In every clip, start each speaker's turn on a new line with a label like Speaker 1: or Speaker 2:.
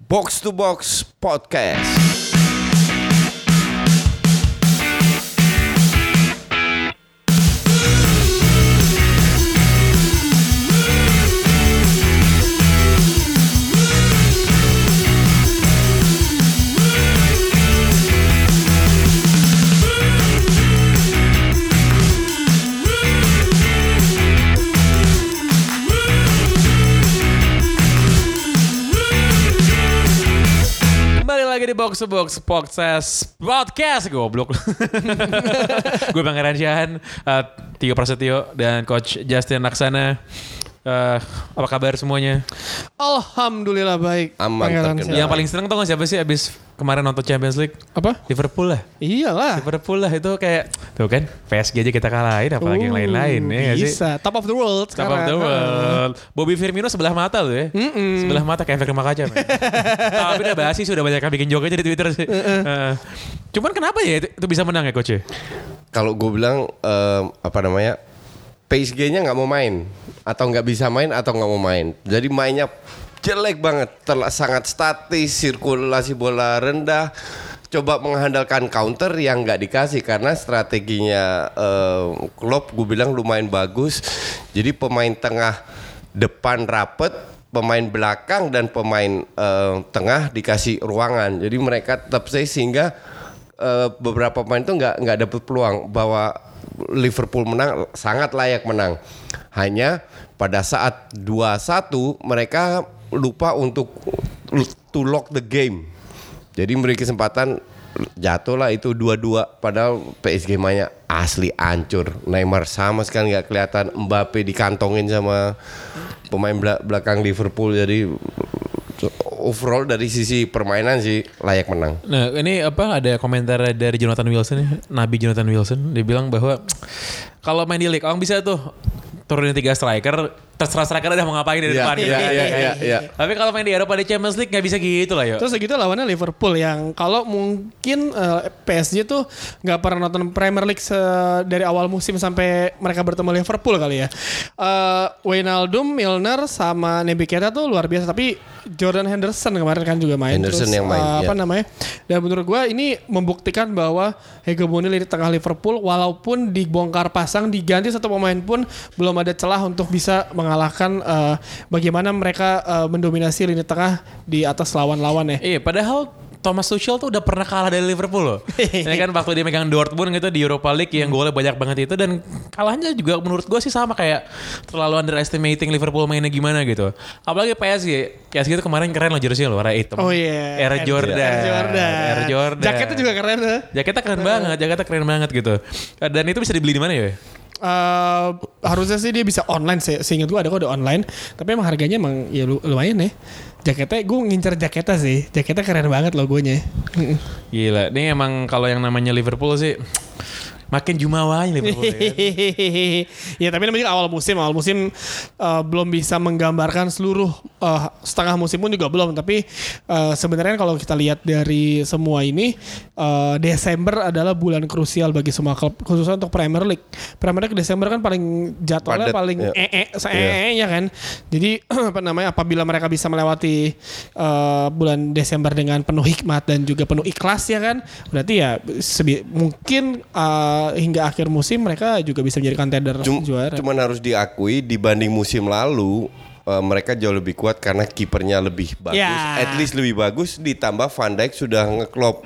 Speaker 1: Box to Box Podcast.
Speaker 2: Kembali lagi di Box to Box Podcast Podcast Goblok Gue Bang Ransyan eh, Tio Prasetyo Dan Coach Justin Laksana Eh, Apa kabar semuanya
Speaker 3: Alhamdulillah baik.
Speaker 1: Aman,
Speaker 3: Pangeran
Speaker 1: terkendali.
Speaker 3: sehat.
Speaker 2: Yang paling seneng tau gak siapa sih Abis kemarin nonton Champions League
Speaker 3: apa?
Speaker 2: Liverpool lah
Speaker 3: Iyalah.
Speaker 2: Liverpool lah itu kayak Tuh kan PSG aja kita kalahin Apalagi yang
Speaker 3: Uh,
Speaker 2: lain-lain ya nggak sih?
Speaker 3: Bisa. Top of the world.
Speaker 2: Top of the
Speaker 3: sekarang.
Speaker 2: world. Bobby Firmino sebelah mata loh ya. Sebelah mata kayak efek rumah kaca. men. Tapi udah bahas sih sudah banyak yang bikin joke aja di Twitter sih. Eh, Cuman kenapa ya itu, itu bisa menang ya coach? ya?
Speaker 1: Kalau gue bilang em, apa namanya PSG-nya nggak mau main atau nggak bisa main atau nggak mau main. Jadi mainnya jelek banget, terla- sangat statis, sirkulasi bola rendah. Coba mengandalkan counter yang nggak dikasih karena strateginya em, Klopp gue bilang lumayan bagus. Jadi pemain tengah depan rapet pemain belakang dan pemain eh, tengah dikasih ruangan. Jadi mereka tetap safe sehingga eh, beberapa pemain itu nggak nggak dapet peluang bahwa Liverpool menang sangat layak menang. Hanya pada saat 2-1 mereka lupa untuk to lock the game. Jadi memberi kesempatan jatuhlah itu dua-dua padahal PSG mainnya asli ancur Neymar sama sekali nggak kelihatan Mbappe dikantongin sama pemain bela- belakang Liverpool jadi overall dari sisi permainan sih layak menang
Speaker 2: Nah ini apa ada komentar dari Jonathan Wilson ya, Nabi Jonathan Wilson. Dia bilang bahwa kalau main di league orang bisa tuh turunin tiga striker. Terserah striker udah mau ngapain di
Speaker 1: Iya,
Speaker 2: depan. gitu.
Speaker 1: iya, iya, iya, iya.
Speaker 2: Tapi kalau main di Eropa di Champions League nggak bisa gitu lah yo.
Speaker 3: Uh, Terus segitu lawannya Liverpool yang kalau mungkin eh, PSG tuh nggak pernah nonton Premier League se- dari awal musim sampai mereka bertemu Liverpool kali ya. Eh Wijnaldum, Milner sama Naby Keita tuh luar biasa tapi Jordan Henderson kemarin kan juga main.
Speaker 1: Henderson yang main,
Speaker 3: eh, apa
Speaker 1: ya.
Speaker 3: namanya? Dan menurut gua ini membuktikan bahwa hegemoni di tengah Liverpool walaupun dibongkar pasang diganti satu pemain pun belum ada celah untuk bisa mengalahkan eh, bagaimana mereka eh, mendominasi lini tengah di atas lawan-lawan ya.
Speaker 2: Iya, padahal Thomas Tuchel tuh udah pernah kalah dari Liverpool loh. Ini kan waktu dia megang Dortmund gitu di Europa League yang golnya banyak banget itu dan kalahnya juga menurut gue sih sama kayak terlalu underestimating Liverpool mainnya gimana gitu. Apalagi PSG, PSG itu kemarin keren loh jersey loh warna hitam.
Speaker 3: Oh iya.
Speaker 2: Era Jordan.
Speaker 3: Air Jordan.
Speaker 2: Air Jordan.
Speaker 3: Jaketnya juga keren ya.
Speaker 2: Jaketnya keren banget, jaketnya keren banget gitu. Dan itu bisa dibeli di mana ya?
Speaker 3: Eh, harusnya sih dia bisa online sih. Seingat gue ada kok ada online. Tapi emang harganya emang ya lu- lumayan ya. Jaketnya gue ngincer jaketnya sih. Jaketnya keren banget logonya. Mm-mm.
Speaker 2: Gila, ini emang kalau yang namanya Liverpool sih makin jumawa aja Liverpool. ya.
Speaker 3: ya tapi namanya juga awal musim. Awal musim eh, belum bisa menggambarkan seluruh eh, setengah musim pun juga belum. Tapi eh, sebenarnya kalau kita lihat dari semua ini eh, Desember adalah bulan krusial bagi semua klub khususnya untuk Premier League. Premier League Desember kan paling jadwalnya
Speaker 1: Padat,
Speaker 3: paling
Speaker 1: ya.
Speaker 3: ee se-ee-nya kan. Jadi apa namanya apabila mereka bisa melewati eh, bulan Desember dengan penuh hikmat dan juga penuh ikhlas ya kan. Berarti ya sebi- mungkin eh, hingga akhir musim mereka juga bisa menjadi contender
Speaker 1: Cum-
Speaker 3: juara.
Speaker 1: cuman harus diakui dibanding musim lalu eh, mereka jauh lebih kuat karena kipernya lebih bagus
Speaker 3: Ya.
Speaker 1: at least lebih bagus ditambah Van Dijk sudah ngeklop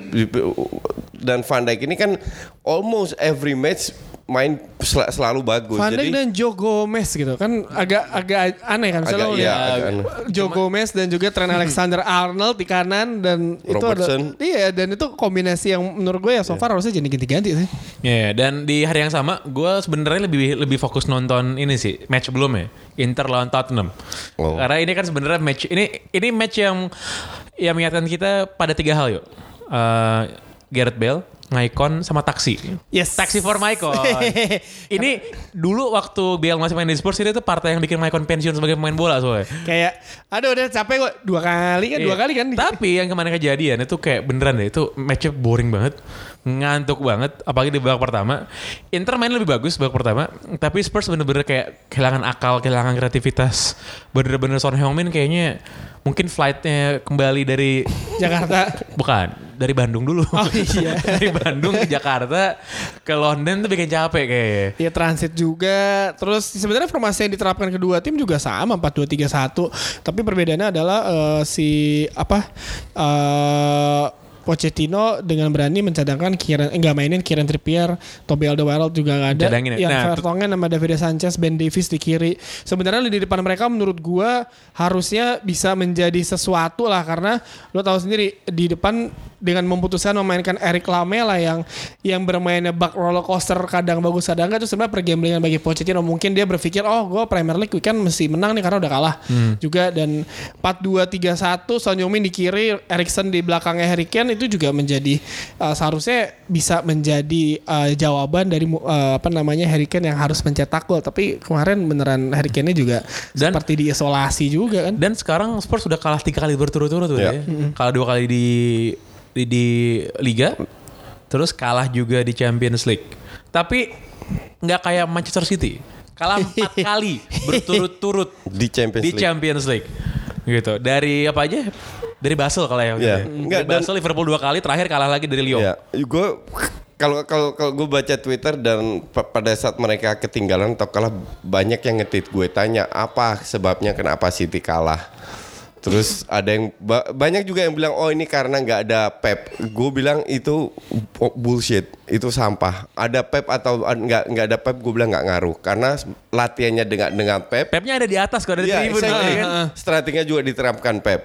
Speaker 1: dan Van Dijk ini kan almost every match main sel- selalu bagus
Speaker 3: Van
Speaker 1: jadi
Speaker 3: Dijk dan Joe Gomez gitu kan agak agak aneh
Speaker 1: agak
Speaker 3: kan misalnya
Speaker 1: iya,
Speaker 3: lihat
Speaker 1: agak aneh.
Speaker 3: Joe Gomez dan juga Trent Alexander Arnold di kanan dan
Speaker 1: Robertson.
Speaker 3: itu ada, iya dan itu kombinasi yang menurut gue ya so far harusnya jadi ganti-ganti sih.
Speaker 2: Ya, dan di hari yang sama gue sebenarnya lebih lebih fokus nonton ini sih match belum ya Inter lawan Tottenham.
Speaker 1: Oh.
Speaker 2: Karena ini kan sebenarnya match ini ini match yang yang mengingatkan kita pada tiga hal yuk. Eh, Gareth Bale, Maicon sama Taksi.
Speaker 3: Yes.
Speaker 2: Taksi for Maicon. ini dulu waktu BL masih main di Spurs ini tuh partai yang bikin Maicon pensiun sebagai pemain bola soalnya.
Speaker 3: Kayak aduh udah capek kok dua kali kan dua
Speaker 2: Iya.
Speaker 3: kali kan.
Speaker 2: Tapi yang kemarin kejadian itu kayak beneran deh itu matchnya boring banget, ngantuk banget. Apalagi di babak pertama, Inter main lebih bagus babak pertama. Tapi Spurs bener-bener kayak kehilangan akal, kehilangan kreativitas. Bener-bener Son Heung-min kayaknya mungkin flightnya kembali dari
Speaker 3: Jakarta
Speaker 2: bukan dari Bandung dulu.
Speaker 3: Oh, iya.
Speaker 2: dari Bandung ke Jakarta ke London tuh bikin capek kayaknya.
Speaker 3: Ya transit juga. Terus sebenarnya formasi yang diterapkan kedua tim juga sama 4-2-3-1. Tapi perbedaannya adalah eh, si apa eh Pochettino dengan berani mencadangkan Kieran enggak mainin Kieran Trippier, Toby Alderweireld juga kan. nggak ada.
Speaker 2: Cadangin ya.
Speaker 3: Yang
Speaker 2: Nah,
Speaker 3: Vertonghen sama David Sanchez, Ben Davis di kiri. Sebenarnya di depan mereka menurut gua harusnya bisa menjadi sesuatu lah karena lo tahu sendiri di depan dengan memutuskan memainkan Eric Lamela yang yang bermainnya bak roller coaster kadang bagus kadang enggak itu sebenarnya pergamblingan bagi Pochettino mungkin dia berpikir oh gua Premier League weekend mesti menang nih karena udah kalah juga dan 4-2-3-1 Son Heung-min di kiri Erikson di belakangnya Harry Kane itu juga menjadi uh, seharusnya bisa menjadi uh, jawaban dari uh, apa namanya Harry Kane yang harus mencetak gol tapi kemarin beneran Harry Kane-nya juga
Speaker 2: Dan-
Speaker 3: seperti diisolasi juga kan
Speaker 2: Dan sekarang Spurs sudah kalah tiga kali berturut-turut tuh
Speaker 1: Iya.
Speaker 2: ya. Kalah dua kali di, di di Liga, terus kalah juga di Champions League. Tapi nggak kayak Manchester City, kalah empat kali berturut-turut
Speaker 1: Di Champions
Speaker 2: di
Speaker 1: League.
Speaker 2: Champions League. Gitu. Dari apa aja? Dari Basel kalah ya. waktu
Speaker 1: Iya.
Speaker 2: itu ya.
Speaker 1: Nggak,
Speaker 2: dari
Speaker 1: dan-
Speaker 2: Basel Liverpool dua kali, terakhir kalah lagi dari Lyon.
Speaker 1: Ya, gue kalau kalau kalau gue baca Twitter dan pa- pada saat mereka ketinggalan atau kalah banyak yang ngetit gue tanya apa sebabnya kenapa City kalah. Terus ada yang ba- banyak juga yang bilang oh ini karena nggak ada Pep. Gue bilang itu bu- bullshit, itu sampah. Ada Pep atau an- nggak nggak ada Pep gue bilang nggak ngaruh karena s- latihannya dengan dengan Pep
Speaker 2: Pepnya ada di atas kok, ada di
Speaker 1: Iya,
Speaker 2: tribun.
Speaker 1: exactly.
Speaker 2: kan?
Speaker 1: Strateginya juga diterapkan Pep.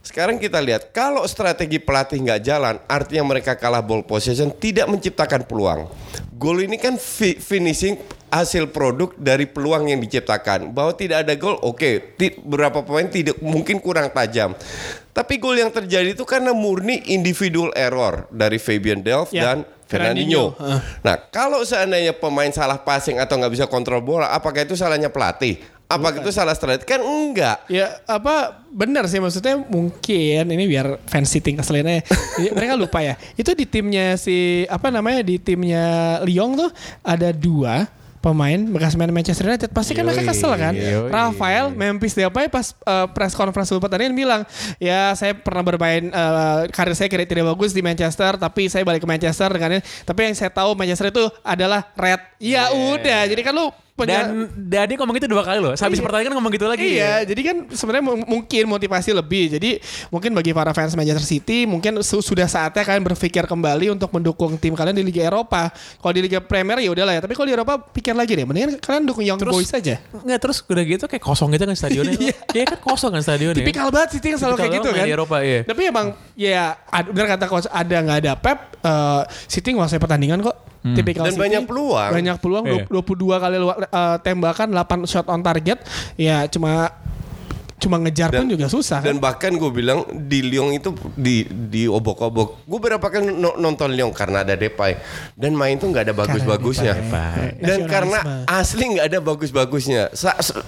Speaker 1: Sekarang kita lihat kalau strategi pelatih nggak jalan, artinya mereka kalah ball possession, tidak menciptakan peluang. Gol ini kan fi- finishing hasil produk dari peluang yang diciptakan. Bahwa tidak ada gol, oke, ti- berapa pemain tidak mungkin kurang tajam. Tapi gol yang terjadi itu karena murni individual error dari Fabian Delph
Speaker 3: Ya,
Speaker 1: dan Fernandinho.
Speaker 3: Fernandinho. Heeh.
Speaker 1: Nah, kalau seandainya pemain salah passing atau nggak bisa kontrol bola, apakah itu salahnya pelatih? Apakah itu salah strategi? Kan enggak.
Speaker 3: Ya apa benar sih maksudnya melainnya mungkin ini biar fans sitting keselinnya Jadi, mereka lupa ya itu di timnya si apa namanya di timnya Lyon tuh ada dua pemain bekas main Manchester United pasti kan mereka
Speaker 2: Yoi,
Speaker 3: kesel kan
Speaker 2: yoi.
Speaker 3: Rafael Memphis Depay pas eh, press conference sebelum pertandingan bilang ya saya pernah bermain eh, karir saya kira tidak bagus di Manchester tapi saya balik ke Manchester dengan ini tapi yang saya tahu Manchester itu adalah red ya udah jadi kan lu
Speaker 2: Dan
Speaker 3: penja-
Speaker 2: Dadi ngomong gitu dua kali loh. Habis pertandingan ngomong gitu lagi.
Speaker 3: Iya, jadi kan sebenarnya mu- mungkin motivasi lebih. Jadi mungkin bagi para fans Manchester City mungkin su- sudah saatnya kalian berpikir kembali untuk mendukung tim kalian di Liga Eropa. Kalau di Liga Premier ya udahlah ya, tapi kalau di Eropa pikir lagi deh. Mendingan kalian dukung Young
Speaker 2: Terus-
Speaker 3: Boys aja.
Speaker 2: Nggak terus udah gitu kayak kosong gitu kan stadionnya. Iya kan kosong kan stadionnya.
Speaker 3: Tipikal banget City yang selalu
Speaker 2: Tipikal
Speaker 3: kayak gitu
Speaker 2: banget
Speaker 3: kan.
Speaker 2: di Eropa, iya.
Speaker 3: Tapi emang ya ad- benar kata coach ada nggak ada Pep eh, City nguasai pertandingan kok. Tipikal
Speaker 1: Dan
Speaker 3: City.
Speaker 1: banyak peluang.
Speaker 3: Banyak peluang
Speaker 2: Hmm. Iya.
Speaker 3: 22 kali lu- eh, tembakan 8 shot on target. Ya cuma cuma ngejar pun
Speaker 1: Dan-
Speaker 3: juga susah kan.
Speaker 1: Dan bahkan gue bilang di Lyon itu di di obok-obok. Gue berapa kali no- nonton Lyon karena ada Depay dan main tuh nggak ada bagus-bagusnya. Dan
Speaker 3: Nasionalisme.
Speaker 1: karena asli nggak ada bagus-bagusnya. Sa- se-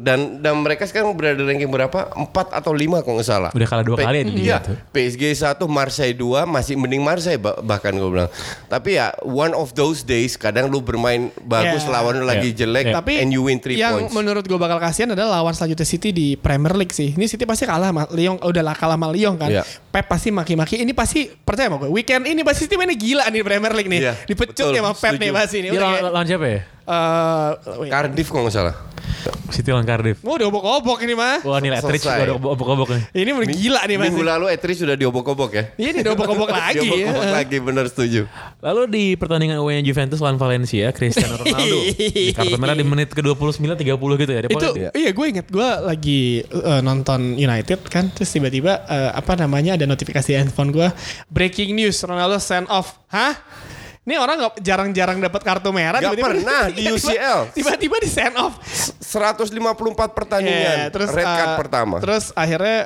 Speaker 1: Dan dan mereka sekarang berada ranking berapa? 4 atau 5 kalau nggak salah.
Speaker 2: Udah kalah dua
Speaker 1: kan Pe-
Speaker 2: kali ya di Liga
Speaker 1: Iya.
Speaker 2: tuh.
Speaker 1: PSG 1, Marseille 2 masih mending Marseille bah- bahkan gue bilang. Tapi ya one of those days kadang lu bermain bagus
Speaker 3: Yeah.
Speaker 1: lawan lu lagi
Speaker 2: Yeah.
Speaker 1: jelek
Speaker 2: Yeah.
Speaker 1: tapi and you win 3
Speaker 3: yang
Speaker 1: points.
Speaker 3: menurut gue bakal kasihan adalah lawan selanjutnya City di Premier League sih. Ini City pasti kalah sama Lyon, udah lah kalah sama Lyon kan.
Speaker 1: Iya.
Speaker 3: Pep pasti maki-maki. Ini pasti percaya sama gue. Weekend ini pasti City mainnya gila nih di Premier League nih.
Speaker 1: Iya,
Speaker 3: Dipecut
Speaker 1: betul.
Speaker 3: ya sama Pep
Speaker 1: Setuju.
Speaker 3: nih pasti
Speaker 2: Dia
Speaker 3: nih. Udah
Speaker 2: Iya, lawan,
Speaker 3: kayak,
Speaker 2: lawan siapa ya?
Speaker 3: eh, wait.
Speaker 1: Cardiff kalau nggak salah.
Speaker 2: City lawan Cardiff.
Speaker 3: Mau udah obok-obok ini mah.
Speaker 2: Wah nih Letrich
Speaker 1: Selesai.
Speaker 2: udah obok-obok nih.
Speaker 3: Ini udah gila nih pasti.
Speaker 1: Minggu lalu Etri sudah diobok-obok ya.
Speaker 3: Iya nih udah obok-obok lagi. ya.
Speaker 1: Diobok-obok lagi bener setuju.
Speaker 2: Lalu di pertandingan away Juventus lawan Valencia, Cristiano Ronaldo di kartu merah di menit ke-29 30 gitu ya. Dia
Speaker 3: itu
Speaker 2: pola-
Speaker 3: iya gue inget gue lagi uh, nonton United kan terus tiba-tiba uh, apa namanya ada notifikasi handphone gue breaking news Ronaldo send off hah ini orang nggak jarang-jarang dapat kartu merah Iya,
Speaker 1: Nggak pernah di
Speaker 3: tiba-tiba-
Speaker 1: UCL.
Speaker 3: tiba-tiba di send off
Speaker 1: 154 pertandingan.
Speaker 3: Iya, terus
Speaker 1: red card
Speaker 3: uh,
Speaker 1: pertama.
Speaker 3: Terus akhirnya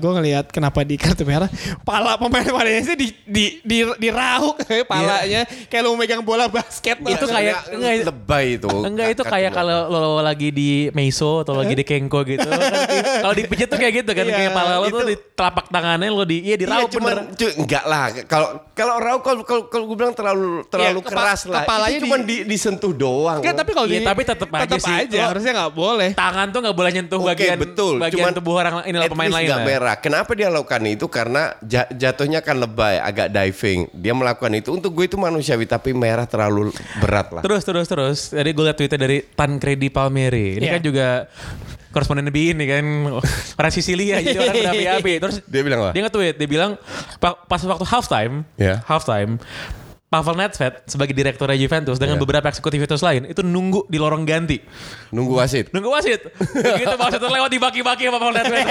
Speaker 3: gue ngelihat kenapa di kartu merah pala pemain Malaysia di di di dirauk palanya
Speaker 1: Iya.
Speaker 3: kayak lu megang bola basket tau
Speaker 2: Itu
Speaker 3: gak?
Speaker 2: kayak-
Speaker 1: enggak,
Speaker 2: enggak-
Speaker 1: lebay itu.
Speaker 2: Enggak itu
Speaker 1: Angkat
Speaker 2: kayak
Speaker 1: dua.
Speaker 2: kalau lo lagi di Meiso atau lagi di Kengko gitu. Kan di- kalau dipijit tuh kayak gitu kan
Speaker 3: Iya,
Speaker 2: kayak pala lo tuh
Speaker 1: itu-
Speaker 2: di telapak tangannya lo di iya di
Speaker 1: Iya
Speaker 2: raup
Speaker 1: cuman
Speaker 2: bener.
Speaker 1: cu- enggak lah kalau kalau rau kalau kalau, kalau gue bilang terlalu terlalu
Speaker 3: Iya, kepa-
Speaker 1: keras lah.
Speaker 3: kepalanya
Speaker 1: itu cuman
Speaker 3: di-
Speaker 1: di, disentuh doang.
Speaker 3: Enggak, tapi kalau
Speaker 2: Iya,
Speaker 3: di-
Speaker 2: tapi tetap aja sih. Lo-
Speaker 3: harusnya nggak boleh.
Speaker 2: Tangan tuh nggak boleh nyentuh
Speaker 1: Oke,
Speaker 2: bagian
Speaker 1: betul.
Speaker 2: bagian tubuh orang ini lah
Speaker 1: at
Speaker 2: pemain
Speaker 1: least
Speaker 2: lain ya?
Speaker 1: nggak
Speaker 2: lah.
Speaker 1: merah. Kenapa dia lakukan itu? Karena ja- jatuhnya kan lebay, agak diving. Dia melakukan itu untuk gue itu manusiawi, tapi merah terlalu berat lah.
Speaker 2: Terus terus terus. Tadi gue liat tweetnya dari Tan Kredi Palmieri. Ini
Speaker 3: Iya.
Speaker 2: kan juga koresponden BI ini kan orang Sisilia jadi orang berapi-api. Terus
Speaker 1: Dia bilang apa?
Speaker 2: Dia nge-tweet, dia bilang pa- pas waktu halftime,
Speaker 1: Ya.
Speaker 2: halftime, Pavel Nedved sebagai direktur Juventus dengan beberapa eksekutivitas lain itu nunggu di lorong ganti.
Speaker 1: Nunggu wasit.
Speaker 2: Nunggu wasit. Begitu wasit lewat dibaki-baki sama Pavel Nedved.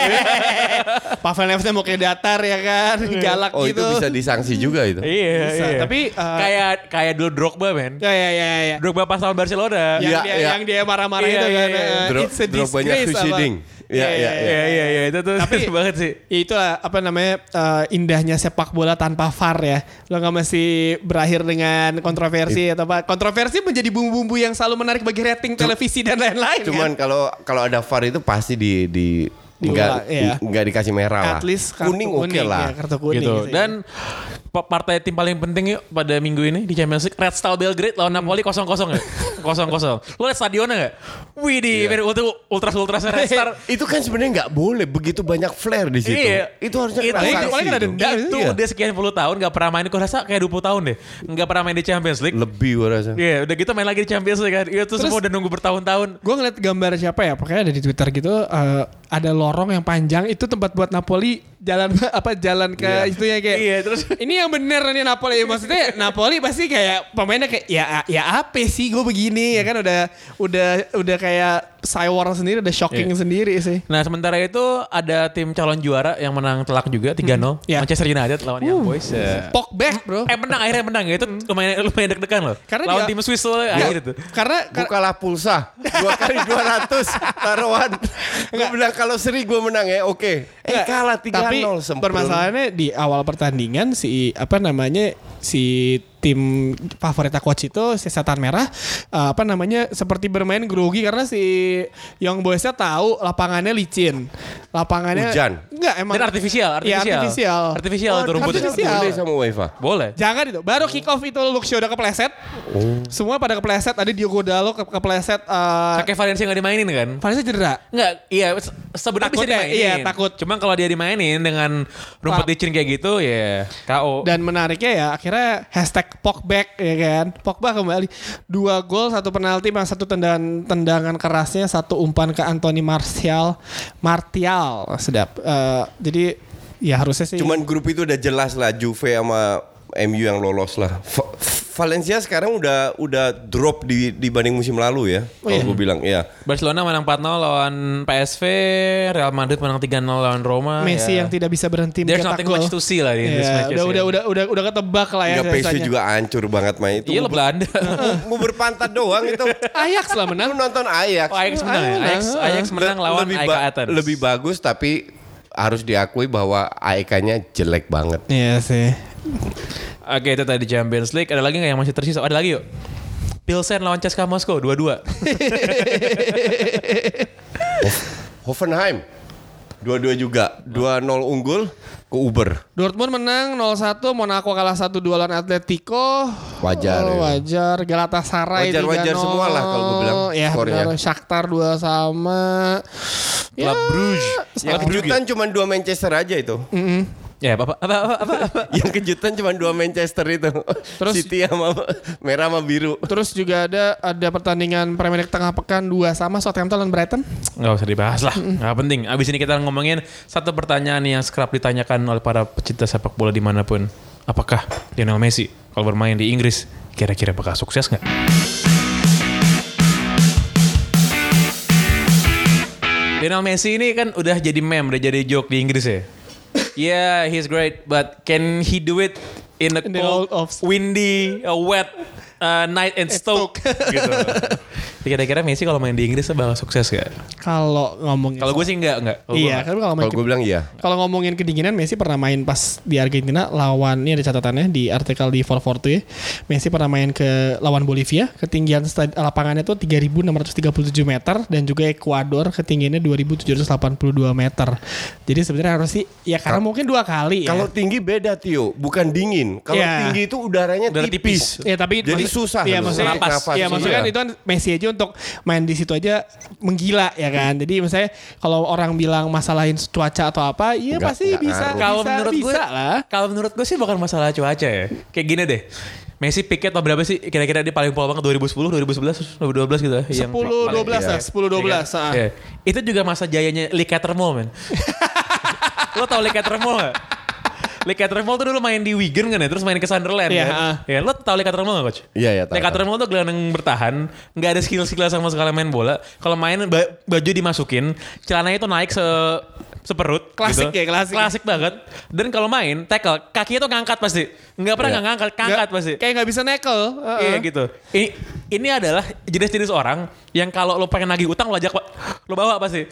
Speaker 3: Pavel Nedved mau kayak datar ya kan, galak
Speaker 1: Oh
Speaker 3: gitu.
Speaker 1: itu bisa disanksi juga itu.
Speaker 2: iya,
Speaker 3: Bisa,
Speaker 2: iya.
Speaker 3: tapi, eh,
Speaker 2: kayak kayak dulu Drogba, men.
Speaker 3: Ya ya ya ya.
Speaker 2: Drogba pas tahun Barcelona.
Speaker 3: Yang,
Speaker 1: Iya,
Speaker 3: dia,
Speaker 1: iya.
Speaker 3: yang dia marah-marah
Speaker 2: Iya,
Speaker 3: itu
Speaker 2: iya,
Speaker 3: kan.
Speaker 2: iya.
Speaker 3: eh,
Speaker 1: Dro-
Speaker 3: it's a
Speaker 1: Drogbanya
Speaker 3: disgrace, apa.
Speaker 1: suiciding. Iya, iya,
Speaker 2: Iya, iya, iya. Itu tuh
Speaker 3: Tapi-
Speaker 2: banget sih.
Speaker 3: Ya, Itulah apa namanya eh, indahnya sepak bola tanpa VAR ya. Lo nggak mesti berakhir dengan kontroversi atau apa. Kontroversi menjadi bumbu-bumbu yang selalu menarik bagi rating televisi dan lain-lain. kan?
Speaker 1: Cuman kalau kalau ada VAR itu pasti di di enggak
Speaker 3: Diulang, iya.
Speaker 1: enggak dikasih merah lah.
Speaker 3: kan? at least kartu
Speaker 1: kuning oke lah.
Speaker 3: ya, kartu kuning
Speaker 2: gitu.
Speaker 3: sih.
Speaker 2: Dan pa- partai tim paling penting yuk pada minggu ini di Champions League Red Star Belgrade lawan Napoli 0-0 ya. 0-0. Lu lihat stadionnya enggak? Wih di yeah. itu ultras-ultras Red Star.
Speaker 1: Itu kan sebenarnya nggak boleh begitu banyak flare di situ.
Speaker 2: Iya.
Speaker 1: Gitu. Itu harusnya
Speaker 2: Itu-
Speaker 1: kena
Speaker 3: Iya,
Speaker 1: sanksi
Speaker 3: soalnya kan ada
Speaker 1: itu.
Speaker 3: denda. Nggak,
Speaker 2: itu
Speaker 1: iya.
Speaker 2: udah sekian puluh tahun gak pernah main. Gue rasa kayak 20 tahun deh. Gak pernah main di Champions League.
Speaker 1: Lebih gue rasa.
Speaker 2: Iya udah gitu main lagi di Champions League kan. Itu semua udah nunggu bertahun-tahun.
Speaker 3: Gue ngeliat gambar siapa ya, pokoknya ada di Twitter gitu, eh, ada lorong yang panjang, itu tempat buat Napoli jalan apa jalan ke
Speaker 1: Iya.
Speaker 3: itunya kayak.
Speaker 2: Iya, terus-
Speaker 3: ini yang bener nih Napoli Ya, maksudnya Napoli pasti kayak pemainnya kayak ya ya apa sih gue begini ya kan udah udah udah kayak Cywar sendiri udah shocking
Speaker 2: Iya.
Speaker 3: sendiri sih.
Speaker 2: Nah sementara itu ada tim calon juara yang menang telak juga 3-0.
Speaker 3: Iya.
Speaker 2: Manchester United lawan Young Boys. Ya.
Speaker 3: Pok back bro.
Speaker 2: Eh menang akhirnya menang ya. Itu lumayan, lumayan deg-degan loh.
Speaker 3: Hmm. Karena
Speaker 2: lawan
Speaker 3: dia- Iya.
Speaker 2: tim Swiss loh akhirnya tuh.
Speaker 3: Karena karena
Speaker 1: Bukalah pulsa dua kali 200 taruhan. Gue bilang kalau seri gue menang ya, oke. Eh
Speaker 3: Nggak,
Speaker 1: kalah 3-0
Speaker 3: Tapi
Speaker 1: sempurna.
Speaker 3: permasalahannya di awal pertandingan si apa namanya si tim favorit coach itu si setan merah eh, apa namanya seperti bermain grogi karena si Young Boys-nya tahu lapangannya licin. Lapangannya
Speaker 1: Hujan.
Speaker 3: Enggak emang
Speaker 2: Dan artifisial, artifisial.
Speaker 3: Iya, artifisial.
Speaker 2: Artifisial
Speaker 1: Oh,
Speaker 2: itu rumputnya.
Speaker 1: tapi nggak boleh sama UEFA.
Speaker 2: Boleh.
Speaker 3: Jangan itu. Baru kick off itu Luxio udah kepleset. Semua pada kepleset. Ada Diogo Dalo ke kepleset. eh
Speaker 2: Pakai Valencia nggak dimainin kan?
Speaker 3: Vanessa cedera.
Speaker 2: Enggak, iya se- sebenarnya bisa
Speaker 3: Takut ya,
Speaker 2: dimainin.
Speaker 3: iya, takut.
Speaker 2: Cuman kalau dia dimainin dengan rumput
Speaker 3: Pak.
Speaker 2: licin kayak gitu ya KO.
Speaker 3: Dan menariknya ya akhirnya hashtag Pogback ya kan. Pogba kembali. Dua gol, satu penalti, bang satu tendangan tendangan kerasnya, satu umpan ke Anthony Martial. Martial sedap. Eh, jadi ya harusnya sih.
Speaker 1: Cuman grup itu udah jelas lah Juve sama MU yang lolos lah. Va- Valencia sekarang udah udah drop di dibanding musim lalu ya.
Speaker 3: Oh,
Speaker 1: kalau
Speaker 3: iya.
Speaker 1: gue bilang ya.
Speaker 2: Barcelona menang 4-0 lawan PSV, Real Madrid menang 3-0 lawan Roma.
Speaker 3: Messi
Speaker 2: ya.
Speaker 3: yang tidak bisa berhenti
Speaker 2: There's
Speaker 3: mencetak
Speaker 2: nothing
Speaker 3: gol.
Speaker 2: much to see lah di
Speaker 3: Ya,
Speaker 2: this matches,
Speaker 3: udah,
Speaker 2: ya.
Speaker 3: udah udah udah udah ketebak lah ya.
Speaker 1: Nggak PSG
Speaker 3: biasanya.
Speaker 1: juga hancur banget main itu.
Speaker 2: Iya lah Belanda.
Speaker 1: Mau berpantat doang itu.
Speaker 3: Ajax lah menang.
Speaker 1: Aku nonton Ajax.
Speaker 2: Oh, Ajax menang ya?
Speaker 3: Ajax
Speaker 2: Ajax,
Speaker 3: menang.
Speaker 2: Ajax menang
Speaker 1: Le-
Speaker 2: lawan
Speaker 1: lebih
Speaker 2: AEK
Speaker 1: ba-
Speaker 2: Athens.
Speaker 1: Lebih bagus tapi harus diakui bahwa AEK-nya jelek banget.
Speaker 3: Iya sih.
Speaker 2: Oke itu tadi Champions League. Ada lagi nggak yang masih tersisa? Oh, Ada lagi yuk. Pilsen lawan CSKA Moskow 2-2.
Speaker 1: Hoffenheim. Dua-dua juga. 2-0 unggul ke Uber.
Speaker 3: Dortmund menang 0-1, Monaco kalah 1-2 lawan Atletico.
Speaker 1: Wajar,
Speaker 3: Oh,
Speaker 1: ya.
Speaker 3: wajar. Galatasaray
Speaker 1: Wajar-wajar
Speaker 3: 3-0.
Speaker 1: semua lah kalau gue bilang
Speaker 3: Ya,
Speaker 1: skornya.
Speaker 3: benar. Shakhtar 2 sama.
Speaker 2: Club Brugge.
Speaker 1: Yang kejutan cuma dua Manchester aja itu.
Speaker 2: Ya apa apa apa apa, apa, apa.
Speaker 1: Yang kejutan cuma dua Manchester itu.
Speaker 3: Terus-
Speaker 1: City sama merah sama biru.
Speaker 3: Terus juga ada ada pertandingan Premier League tengah pekan 2 sama Southampton lawan Brighton.
Speaker 2: Nggak usah dibahas lah. Nggak penting. Abis ini kita ngomongin satu pertanyaan yang kerap ditanyakan oleh para pecinta sepak bola dimanapun. Apakah Lionel Messi kalau bermain di Inggris kira-kira bakal sukses nggak? Lionel Messi ini kan udah jadi meme, udah jadi joke di Inggris ya. Yeah, he's great, but can he do it in a
Speaker 3: In the
Speaker 2: cold,
Speaker 3: old of-
Speaker 2: windy, a wet eh, Knight and Stoke, gitu. Jadi Kira-kira Messi kalau main di Inggris bakal sukses gak?
Speaker 3: Kalau ngomongin
Speaker 2: Kalau gue sih enggak, enggak. Kalau gua
Speaker 3: Iya,
Speaker 2: enggak.
Speaker 3: kan kalau main
Speaker 1: Kalau gue bilang iya.
Speaker 3: Kalau ngomongin kedinginan, Messi pernah main pas di Argentina lawan ini ada catatannya di artikel di 442 ya. Messi pernah main ke lawan Bolivia, ketinggian stad- lapangannya tuh 3637 meter dan juga Ekuador ketinggiannya 2782 meter. Jadi sebenarnya harus sih ya karena mungkin dua kali
Speaker 1: Kalau
Speaker 3: ya.
Speaker 1: tinggi beda Tio, bukan dingin. Kalau
Speaker 3: Iya.
Speaker 1: tinggi itu udaranya
Speaker 2: Udara
Speaker 1: tipis.
Speaker 2: tipis.
Speaker 3: Ya tapi
Speaker 1: Jadi
Speaker 3: maksud-
Speaker 1: susah
Speaker 3: Iya
Speaker 1: loh.
Speaker 3: maksudnya
Speaker 2: Napas.
Speaker 3: Iya maksudnya kan itu kan Messi aja untuk main di situ aja menggila ya kan. Jadi misalnya kalau orang bilang masalahin cuaca atau apa, iya
Speaker 1: Nggak-
Speaker 3: pasti
Speaker 1: nggak
Speaker 3: bisa.
Speaker 1: ngaruh.
Speaker 3: bisa,
Speaker 2: Kalau menurut
Speaker 3: bisa
Speaker 2: gue,
Speaker 3: lah.
Speaker 2: kalau menurut gue sih bukan masalah cuaca ya. Kayak gini deh. Messi Piquet atau berapa sih kira-kira dia paling pol banget 2010, 2011, 2012 gitu ya.
Speaker 3: 10 12 lah, 10 12. ah.
Speaker 2: Iya. Itu juga masa jayanya Likater Mall, men. Lo tau Likater Mall gak? Likater Mall tuh dulu main di Wigan kan ya, terus main ke Sunderland
Speaker 3: Iya,
Speaker 2: kan?
Speaker 3: ah.
Speaker 2: Ya, lo tau Likater Mall gak, Coach?
Speaker 1: Iya, iya, tahu,
Speaker 2: Likater
Speaker 1: tahu.
Speaker 2: Mall tuh gelandang bertahan, nggak ada skill-skill sama sekali main bola. Kalau main ba- baju dimasukin, celananya itu naik se seperut gitu.
Speaker 3: Klasik ya, klasik.
Speaker 2: klasik banget dan kalau main tackle kakinya tuh ngangkat pasti nggak pernah
Speaker 1: Iya.
Speaker 2: nggak ngangkat ngangkat
Speaker 3: Nggak-
Speaker 2: pasti
Speaker 3: Kayak nggak bisa nekel. Heeh.
Speaker 2: Iya gitu. Ini ini adalah jenis-jenis orang yang kalau lo pengen nagih utang lo ajak lo bawa pasti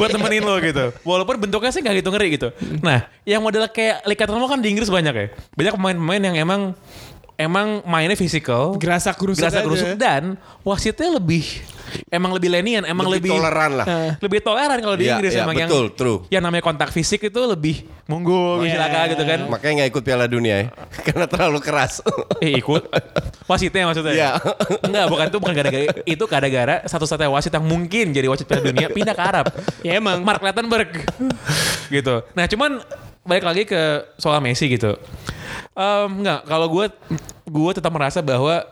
Speaker 2: buat temenin lo gitu. Walaupun bentuknya sih nggak gitu ngeri gitu. Nah, yang model kayak Likatermo kan di Inggris banyak ya. Banyak pemain-pemain yang emang emang mainnya fisikal,
Speaker 3: Gerasak gerusuk
Speaker 2: gerasa
Speaker 3: aja.
Speaker 2: gerusuk dan wasitnya lebih emang lebih lenian, emang lebih, Iya.
Speaker 1: Lebih toleran lah.
Speaker 3: Eh.
Speaker 2: lebih toleran kalau di
Speaker 1: Iya,
Speaker 2: Inggris
Speaker 1: iya,
Speaker 2: emang
Speaker 1: betul,
Speaker 2: yang
Speaker 1: true.
Speaker 2: yang namanya kontak fisik itu lebih monggo
Speaker 3: Iya.
Speaker 2: silakan gitu kan.
Speaker 1: Makanya nggak ikut Piala Dunia ya, karena terlalu keras.
Speaker 2: Eh ikut wasitnya ya, maksudnya.
Speaker 1: Iya.
Speaker 2: Enggak, bukan itu bukan gara-gara itu gara-gara satu-satunya wasit yang mungkin jadi wasit Piala Dunia pindah ke Arab.
Speaker 3: Ya emang.
Speaker 2: Mark Lattenberg. gitu. Nah, cuman balik lagi ke soal Messi gitu. Em, enggak, kalau gue gue tetap merasa bahwa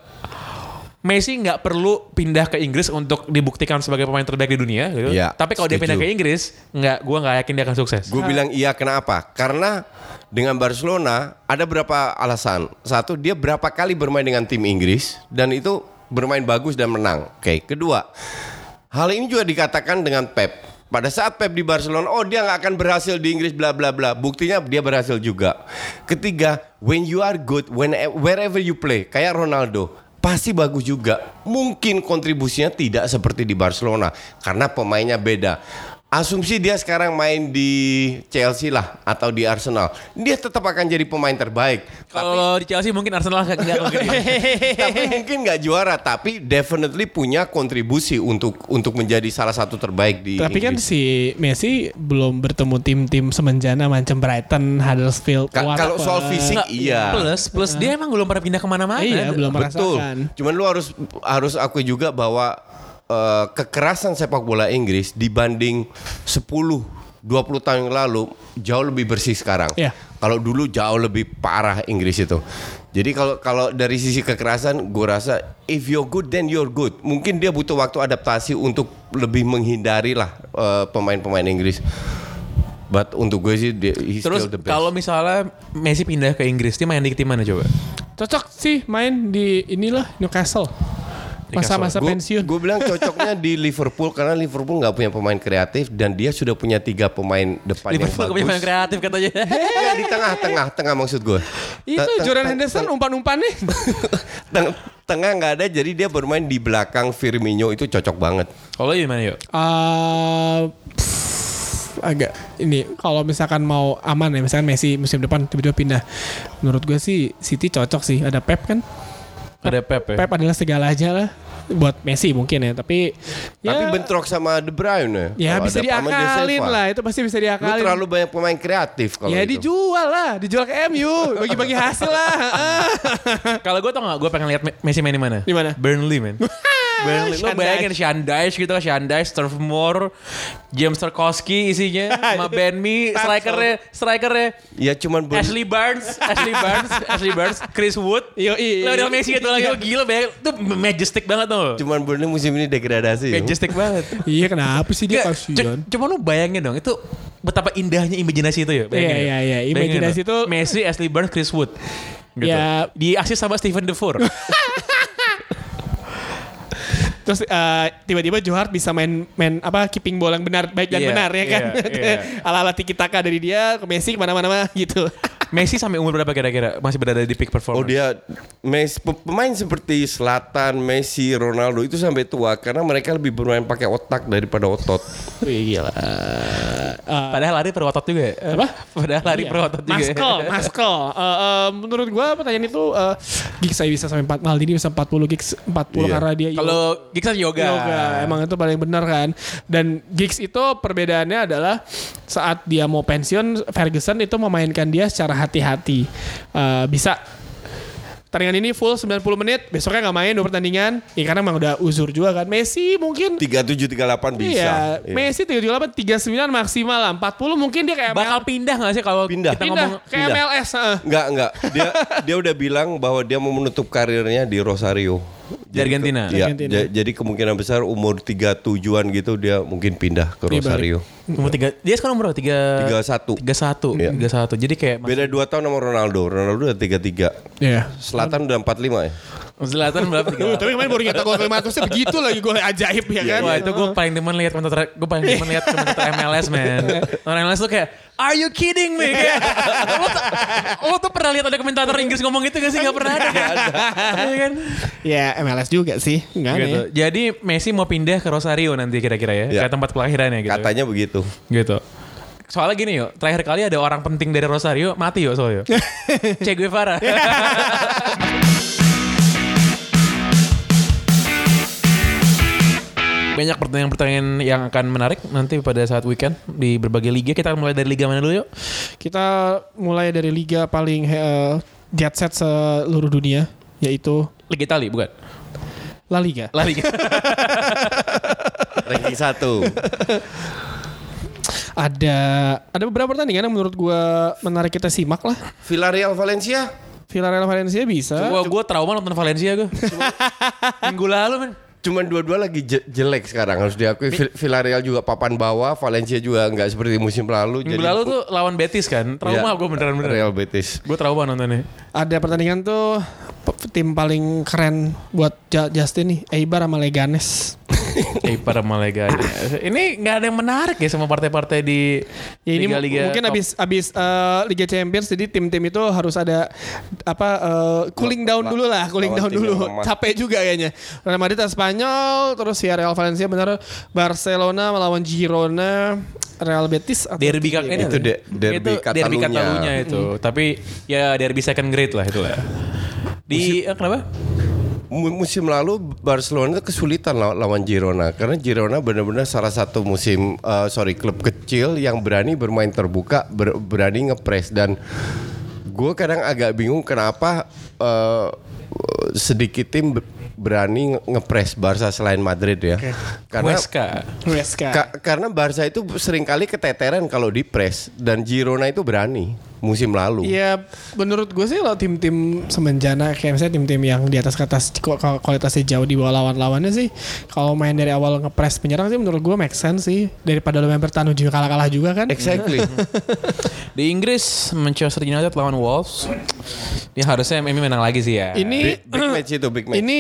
Speaker 2: Messi nggak perlu pindah ke Inggris untuk dibuktikan sebagai pemain terbaik di dunia gitu.
Speaker 1: Iya,
Speaker 2: Tapi kalau dia
Speaker 1: setuju.
Speaker 2: pindah ke Inggris, nggak gue nggak yakin dia akan sukses.
Speaker 1: Gue bilang iya kenapa? Karena dengan Barcelona ada berapa alasan. Satu, dia berapa kali bermain dengan tim Inggris dan itu bermain bagus dan menang. Oke, kedua. Hal ini juga dikatakan dengan Pep. Pada saat Pep di Barcelona, oh dia nggak akan berhasil di Inggris bla bla bla. Buktinya dia berhasil juga. Ketiga, when you are good, when wherever you play, kayak Ronaldo, pasti bagus juga. Mungkin kontribusinya tidak seperti di Barcelona karena pemainnya beda. Asumsi dia sekarang main di Chelsea lah atau di Arsenal, dia tetap akan jadi pemain terbaik.
Speaker 2: Kalau di Chelsea mungkin Arsenal nggak nggak mungkin.
Speaker 1: tapi mungkin nggak juara, tapi definitely punya kontribusi untuk untuk menjadi salah satu terbaik di.
Speaker 3: Tapi kan
Speaker 1: Inggris.
Speaker 3: si Messi belum bertemu tim-tim semenjana macam Brighton, Huddersfield,
Speaker 1: Ka-
Speaker 3: Watford.
Speaker 1: kalau soal fisik
Speaker 2: Nggak,
Speaker 1: iya.
Speaker 2: Plus plus dia emang belum pernah pindah kemana-mana.
Speaker 3: Iya, belum
Speaker 1: Betul.
Speaker 3: merasakan.
Speaker 1: Cuman lu harus harus aku juga bahwa eh, kekerasan sepak bola Inggris dibanding 10 20 tahun yang lalu jauh lebih bersih sekarang.
Speaker 3: Iya.
Speaker 1: Kalau dulu jauh lebih parah Inggris itu. Jadi kalau kalau dari sisi kekerasan gue rasa if you're good then you're good. Mungkin dia butuh waktu adaptasi untuk lebih menghindari lah eh, pemain-pemain Inggris. But untuk gue sih dia, he's
Speaker 2: Terus
Speaker 1: still the best.
Speaker 2: kalau misalnya Messi pindah ke Inggris, dia main di tim mana coba?
Speaker 3: Cocok sih main di inilah Newcastle. Masa-masa pensiun.
Speaker 1: Gue bilang cocoknya di Liverpool karena Liverpool nggak punya pemain kreatif dan dia sudah punya tiga pemain depan
Speaker 2: Liverpool
Speaker 1: yang
Speaker 2: kebanyakan
Speaker 1: bagus.
Speaker 2: kreatif katanya.
Speaker 1: Ya, di tengah-tengah, tengah maksud gue.
Speaker 3: itu Jordan Henderson umpan-umpan nih.
Speaker 1: Teng- tengah nggak ada, jadi dia bermain di belakang Firmino itu cocok banget.
Speaker 2: Kalau lu gimana yuk?
Speaker 3: Eh, pff, agak ini kalau misalkan mau aman ya misalkan Messi musim depan tiba-tiba pindah menurut gue sih City cocok sih ada Pep kan
Speaker 2: Ada Pep ya?
Speaker 3: Pep adalah segalanya lah buat Messi mungkin ya tapi ya,
Speaker 1: Tapi bentrok sama De Bruyne.
Speaker 3: ya
Speaker 1: Kalau
Speaker 3: bisa
Speaker 1: ada sama De
Speaker 3: diakalin
Speaker 1: Silva.
Speaker 3: lah itu pasti bisa
Speaker 1: Lu
Speaker 3: diakalin
Speaker 1: terlalu banyak pemain kreatif kalau gitu.
Speaker 3: ya
Speaker 1: itu.
Speaker 3: dijual lah dijual ke MU bagi-bagi hasil lah
Speaker 2: Kalau gue tau gak, gue pengen lihat Me- Messi main di mana?
Speaker 3: Di mana?
Speaker 2: Burnley man. Burnley. Lo
Speaker 3: Sean
Speaker 2: bayangin
Speaker 3: Dyche.
Speaker 2: Sean Dyche gitu kan, Sean Dyche, Turf Moor, James Tarkowski isinya, sama Ben Mee,
Speaker 3: Tansel.
Speaker 2: strikernya, strikernya,
Speaker 1: Ya cuman ber-
Speaker 2: Ashley Barnes, Ashley Barnes, Ashley Barnes, Chris Wood,
Speaker 1: Iya.
Speaker 3: Yoi.
Speaker 2: Lionel Messi gitu lagi, Oh, gila bayangin, itu majestic banget tuh.
Speaker 1: cuman Burnley musim ini degradasi. yo.
Speaker 2: Majestic banget.
Speaker 3: iya kenapa sih dia
Speaker 2: Nggak,
Speaker 3: kasihan
Speaker 2: cu- Cuma lu bayangin dong itu betapa indahnya imajinasi itu ya. bayangin ya.
Speaker 3: Iya, iya, iya.
Speaker 2: Bayangin
Speaker 3: Imajinasi
Speaker 2: dong.
Speaker 3: itu-
Speaker 2: Messi, Ashley Barnes, Chris Wood. Gitu.
Speaker 3: Ya.
Speaker 2: Di asis sama Steven Defour.
Speaker 3: Terus eh, tiba-tiba Johar bisa main main apa keeping bola yang benar baik dan
Speaker 2: Iya,
Speaker 3: benar ya kan.
Speaker 2: iya, iya.
Speaker 3: Ala-ala tiki taka dari dia ke Messi kemana-mana mah, gitu.
Speaker 2: Messi sampai umur berapa kira-kira masih berada di peak
Speaker 1: Oh
Speaker 2: performance?
Speaker 1: dia Messi pe- pemain seperti Selatan, Messi, Ronaldo itu sampai tua karena mereka lebih bermain pakai otak daripada otot.
Speaker 3: Wih gila. Eh,
Speaker 2: Padahal lari perotot juga ya.
Speaker 3: Apa?
Speaker 2: Padahal lari
Speaker 3: Iya.
Speaker 2: perotot juga. ya.
Speaker 3: Maskel, maskel. Eh, eh, menurut gua pertanyaan itu eh, gigs saya bisa sampai 4 Maldini bisa 40 gigs 40
Speaker 1: Iya.
Speaker 3: karena dia
Speaker 2: Kalau Giggs kan yoga.
Speaker 3: yoga. Emang itu paling benar kan. Dan gigs itu perbedaannya adalah saat dia mau pensiun Ferguson itu memainkan dia secara hati-hati. Eh, bisa Pertandingan ini full 90 menit, besoknya nggak main dua pertandingan. Ya karena emang udah uzur juga kan. Messi mungkin
Speaker 1: 37 38 bisa.
Speaker 3: Iya,
Speaker 1: Iya.
Speaker 3: Messi 38 39 maksimal lah. 40 mungkin dia kayak
Speaker 2: Bakal pindah gak sih kalau
Speaker 1: Pindah.
Speaker 2: kita
Speaker 3: pindah
Speaker 2: ngomong
Speaker 3: kayak
Speaker 1: pindah.
Speaker 3: MLS. heeh.
Speaker 1: Enggak, enggak. Dia dia udah bilang bahwa dia mau menutup karirnya di Rosario.
Speaker 2: Di Argentina?
Speaker 1: Iya,
Speaker 3: Argentina.
Speaker 1: ja- jadi kemungkinan besar umur 37-an gitu dia mungkin pindah ke
Speaker 3: Dia balik.
Speaker 1: Rosario.
Speaker 2: umur tiga, dia sekarang umur berapa? Tiga,
Speaker 1: 31.
Speaker 2: Eh, Tiga satu,
Speaker 1: Iya.
Speaker 2: tiga satu. Jadi kayak Mas-
Speaker 1: Beda 2 tahun sama Ronaldo. Ronaldo udah 33.
Speaker 3: Iya.
Speaker 1: Selatan udah 45 ya.
Speaker 2: Zlatan berapa? Tiga.
Speaker 3: Tapi kemarin baru nyetak gol kelima begitu lagi gol ajaib ya kan.
Speaker 2: Wah itu gue paling demen lihat komentar gue paling demen lihat komentar MLS man. Orang MLS tuh kayak Are you kidding me? Kayak, lo, tuh, lo tuh pernah lihat ada komentator Inggris ngomong itu gak sih? Gak pernah ada. kan?" Iya kan?
Speaker 3: Ya MLS juga sih. Enggak
Speaker 2: Gitu. Jadi Messi mau pindah ke Rosario nanti kira-kira ya,
Speaker 1: Iya.
Speaker 2: ke tempat kelahirannya gitu.
Speaker 1: Katanya begitu.
Speaker 2: Gitu. Soalnya gini yuk, terakhir kali ada orang penting dari Rosario mati yuk soalnya. Che Guevara. Banyak pertanyaan-pertanyaan yang akan menarik nanti pada saat weekend di berbagai liga. Kita mulai dari liga mana dulu yuk?
Speaker 3: Kita mulai dari liga paling eh, jet set seluruh dunia yaitu
Speaker 2: Liga Itali bukan?
Speaker 3: La Liga.
Speaker 2: La Liga.
Speaker 1: Ranking 1.
Speaker 3: Ada ada beberapa pertandingan yang menurut gua menarik kita simak lah.
Speaker 1: Villarreal Valencia.
Speaker 3: Villarreal Valencia bisa.
Speaker 2: Wah, gue trauma nonton Valencia gue. Minggu lalu men.
Speaker 1: Cuman dua-dua lagi je- jelek sekarang harus diakui Vil- Villarreal juga papan bawah, Valencia juga nggak seperti musim lalu.
Speaker 2: Minggu lalu tuh lawan Betis kan. Trauma gue beneran-beneran.
Speaker 1: Real Betis.
Speaker 2: Gue trauma nontonnya.
Speaker 3: Ada pertandingan tuh pe- tim paling keren buat Ja- Justin nih, Eibar sama Leganes.
Speaker 2: Eh para Malaga. Ini nggak ada yang menarik ya sama partai-partai di
Speaker 3: Ya ini mu-
Speaker 2: liga-liga
Speaker 3: mungkin
Speaker 2: top.
Speaker 3: abis abis eh, Liga Champions jadi tim-tim itu harus ada apa eh, cooling down
Speaker 1: La-
Speaker 3: dulu lah, cooling
Speaker 1: lawan
Speaker 3: down
Speaker 1: tim yang
Speaker 3: dulu.
Speaker 1: lemah.
Speaker 3: Capek juga kayaknya. Real Madrid lawan Spanyol, terus ya Real Valencia benar Barcelona melawan Girona, Real Betis atau
Speaker 2: derby kak ini
Speaker 1: Itu
Speaker 2: apa?
Speaker 1: de- derby
Speaker 2: itu derby
Speaker 1: Catalunya.
Speaker 2: Catalunya
Speaker 3: Hmm.
Speaker 2: itu. Tapi ya derby second grade lah itu lah. Di eh, kenapa?
Speaker 1: Mu- Musim lalu Barcelona tuh kesulitan law- lawan Girona karena Girona benar-benar salah satu musim eh, sorry klub kecil yang berani bermain terbuka, ber- berani ngepres dan gue kadang agak bingung kenapa eh, sedikit tim ber- berani nge- ngepres Barca selain Madrid ya. Karena
Speaker 2: Huesca.
Speaker 3: Huesca.
Speaker 1: Ka- karena Barca itu seringkali keteteran kalau di press dan Girona itu berani musim lalu.
Speaker 3: Iya, menurut gue sih kalau tim-tim semenjana kayak misalnya tim-tim yang di atas kertas ku- ku- kualitasnya jauh di bawah lawan-lawannya sih kalau main dari awal ngepres penyerang sih menurut gue make sense sih daripada lo main bertahan ujung kalah-kalah juga kan.
Speaker 1: Exactly.
Speaker 2: Di Inggris Manchester United lawan Wolves. Ini harusnya MU menang lagi sih ya.
Speaker 1: big,
Speaker 3: Ini
Speaker 1: big match itu big match.
Speaker 3: Ini